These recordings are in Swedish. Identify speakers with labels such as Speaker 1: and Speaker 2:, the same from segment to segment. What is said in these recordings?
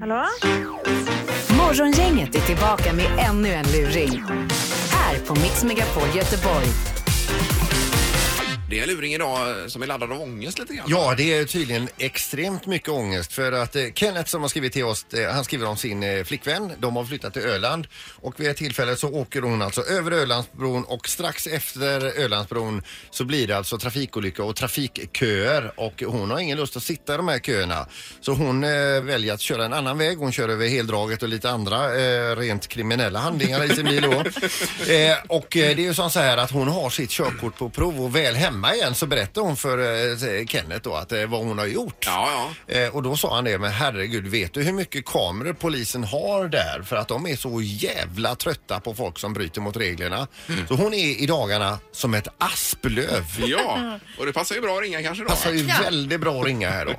Speaker 1: Hallå?
Speaker 2: Morgongänget är tillbaka med ännu en luring. Här på Mix Megapol Göteborg.
Speaker 3: Det är en luring idag eh, som är laddad av ångest lite grann.
Speaker 4: Ja, det är tydligen extremt mycket ångest för att eh, Kenneth som har skrivit till oss, eh, han skriver om sin eh, flickvän. De har flyttat till Öland och vid ett tillfälle så åker hon alltså över Ölandsbron och strax efter Ölandsbron så blir det alltså trafikolycka och trafikköer och hon har ingen lust att sitta i de här köerna. Så hon eh, väljer att köra en annan väg. Hon kör över heldraget och lite andra eh, rent kriminella handlingar i sin bil då. Eh, och eh, det är ju som så här att hon har sitt körkort på prov och väl hemma igen så berättar hon för eh, Kenneth då att eh, vad hon har gjort.
Speaker 3: Ja,
Speaker 4: Eh, och då sa han det, men herregud vet du hur mycket kameror polisen har där? För att de är så jävla trötta på folk som bryter mot reglerna. Så hon är i dagarna som ett asplöv.
Speaker 3: Mm. ja. Ja, och det passar ju bra att ringa kanske då.
Speaker 4: Passar ju väldigt bra att ringa här då.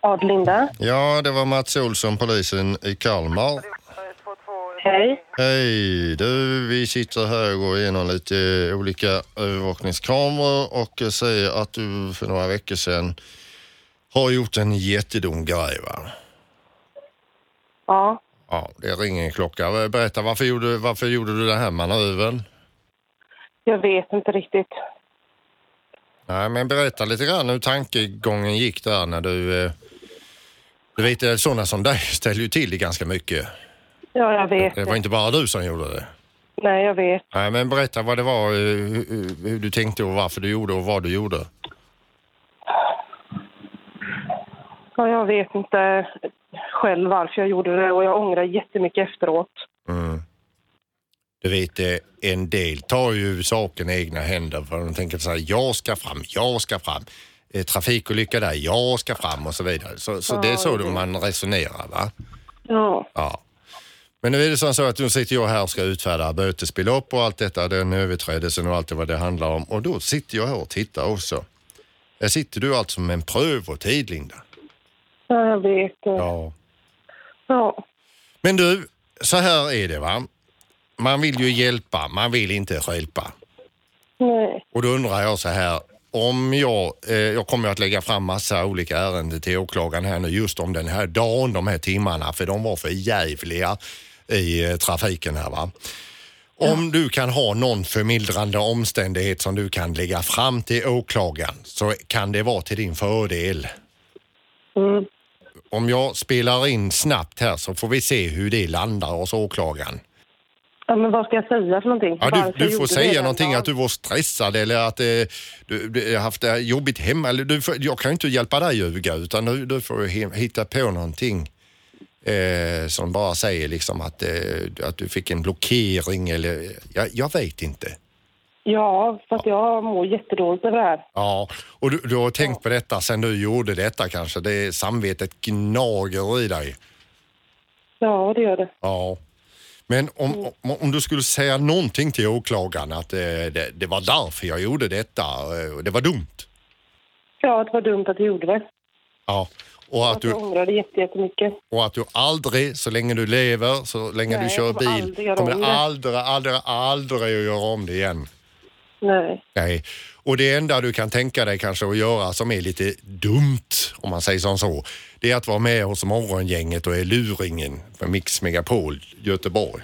Speaker 1: Adlinda.
Speaker 5: Ja, det var Mats Olsson, polisen i Kalmar.
Speaker 1: Hej.
Speaker 5: Hej, du, vi sitter här och går igenom lite olika övervakningskameror och ser att du för några veckor sedan har gjort en jättedum grej va?
Speaker 1: Ja.
Speaker 5: Ja, det ringer en klocka. Berätta, varför gjorde, varför gjorde du den här manövern?
Speaker 1: Jag vet inte riktigt.
Speaker 5: Nej, men berätta lite grann hur tankegången gick där när du... eh, Du vet, eh, sådana som dig ställer ju till det ganska mycket.
Speaker 1: Ja, jag vet.
Speaker 5: Det var inte bara du som gjorde det.
Speaker 1: Nej, jag vet.
Speaker 5: Nej, men berätta vad det var, eh, hur, hur- hur du tänkte och varför du gjorde och vad du gjorde.
Speaker 1: Ja, jag vet inte själv varför jag gjorde det och jag ångrar jättemycket efteråt.
Speaker 5: Du vet, eh, en del tar ju saken i egna händer för de tänker så här, jag ska fram, jag ska fram. Eh, Trafikolycka där, jag ska fram och så vidare. Så, så det är så man resonerar va?
Speaker 1: Ja.
Speaker 5: Ja. Men nu är det som så att nu sitter jag här och ska utfärda bötesbelopp och allt detta, den överträdelsen och allt det vad det handlar om. Och då sitter jag här och tittar också. Här sitter du alltså med en prövotid, Linda.
Speaker 1: ja, jag vet. Ja.
Speaker 5: Ja.
Speaker 1: ja.
Speaker 5: Men du, så här är det va. Man vill ju hjälpa, man vill inte stjälpa.
Speaker 1: Nej.
Speaker 5: Och då undrar jag så här, om jag, eh, jag kommer ju att lägga fram massa olika ärenden till åklagaren här nu just om den här dagen, de här timmarna, för de var för jävliga i eh, trafiken här va. Om du kan ha någon förmildrande omständighet som du kan lägga fram till åklagaren så kan det vara till din fördel.
Speaker 1: Mm.
Speaker 5: Om jag spelar in snabbt här så får vi se hur det landar hos åklagaren.
Speaker 1: Ja, men vad ska jag säga för någonting?
Speaker 5: Ja,
Speaker 1: Varför
Speaker 5: du, du får
Speaker 1: gjorde jag
Speaker 5: säga
Speaker 1: den
Speaker 5: någonting
Speaker 1: dagen?
Speaker 5: att du var stressad eller att eh, du, du har haft det jobbigt hemma. Eller du, får- jag kan ju inte hjälpa dig ljuga utan du, du får ju he- hitta på någonting eh, som bara säger liksom att, eh, att du fick en blockering eller jag, jag vet inte.
Speaker 1: Ja, för att jag mår jättedåligt över det här.
Speaker 5: Ja, och du, du har tänkt på detta sen du gjorde detta kanske. Det samvetet gnager i dig.
Speaker 1: Ja, det gör det.
Speaker 5: Ja. Men om,
Speaker 1: Mm.
Speaker 5: om, om du skulle säga någonting till åklagaren att eh, det, det var därför jag gjorde detta eh, och det var dumt.
Speaker 1: Ja, det var dumt att jag gjorde det.
Speaker 5: Ja, och att,
Speaker 1: Att jag
Speaker 5: du,
Speaker 1: ångrar det jätte- jättemycket.
Speaker 5: och att du aldrig, så länge du lever, så länge
Speaker 1: Nej,
Speaker 5: du kör
Speaker 1: jag kommer aldrig
Speaker 5: bil,
Speaker 1: göra
Speaker 5: kommer
Speaker 1: om
Speaker 5: du
Speaker 1: det.
Speaker 5: aldrig, aldrig, aldrig att göra om det igen.
Speaker 1: Nej.
Speaker 5: Nej. Och det enda du kan tänka dig kanske att göra som är lite dumt, om man säger som så, det är att vara med hos morgongänget och är luringen för Mix Megapol Göteborg.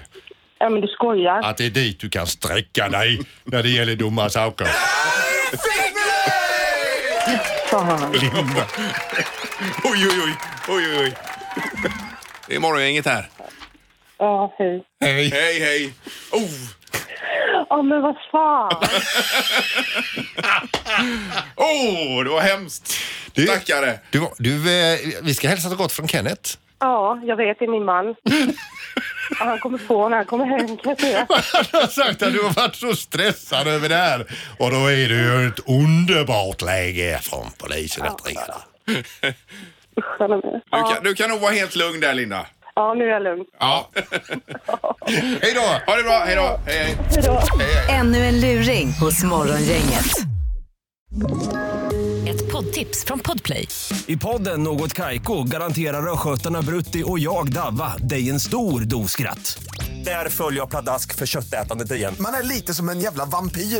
Speaker 1: Ja, men du skojar.
Speaker 5: Att det är dit du kan sträcka dig när det gäller dumma saker.
Speaker 1: Fan.
Speaker 5: Linda.
Speaker 3: Oj, oj, oj. oj, oj, oj. Det är morgongänget här.
Speaker 1: Ja, hej.
Speaker 5: Hej.
Speaker 3: Hej, hej. Oh,
Speaker 1: Ja, men vad fan.
Speaker 3: oh det var hemskt.
Speaker 5: Du-
Speaker 3: Stackare.
Speaker 5: Du, du, eh, vi ska hälsa så gott från Kenneth.
Speaker 1: Ja, jag vet. Det är min man. Ja, Han kommer på när han kommer hem, kan jag säga.
Speaker 5: Han har sagt att du har varit så stressad över det här och då är det ju ett underbart läge från polisen att ringa. där.
Speaker 1: Usch, vad de är.
Speaker 3: Du kan, du kan nog vara helt lugn där, Linda.
Speaker 1: Ja, nu är jag lugn.
Speaker 5: Ja. Hej då!
Speaker 3: Ha det bra. Hej då. Hej, hej.
Speaker 1: Hej då.
Speaker 2: Ännu en luring hos Morgongänget. Ett poddtips från Podplay.
Speaker 6: I podden Något Kaiko garanterar östgötarna Brutti och jag, Davva, dig en stor dos skratt. Där följer jag pladask för köttätandet igen.
Speaker 7: Man är lite som en jävla vampyr. Man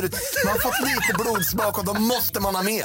Speaker 7: har fått lite blodsmak och då måste man ha mer.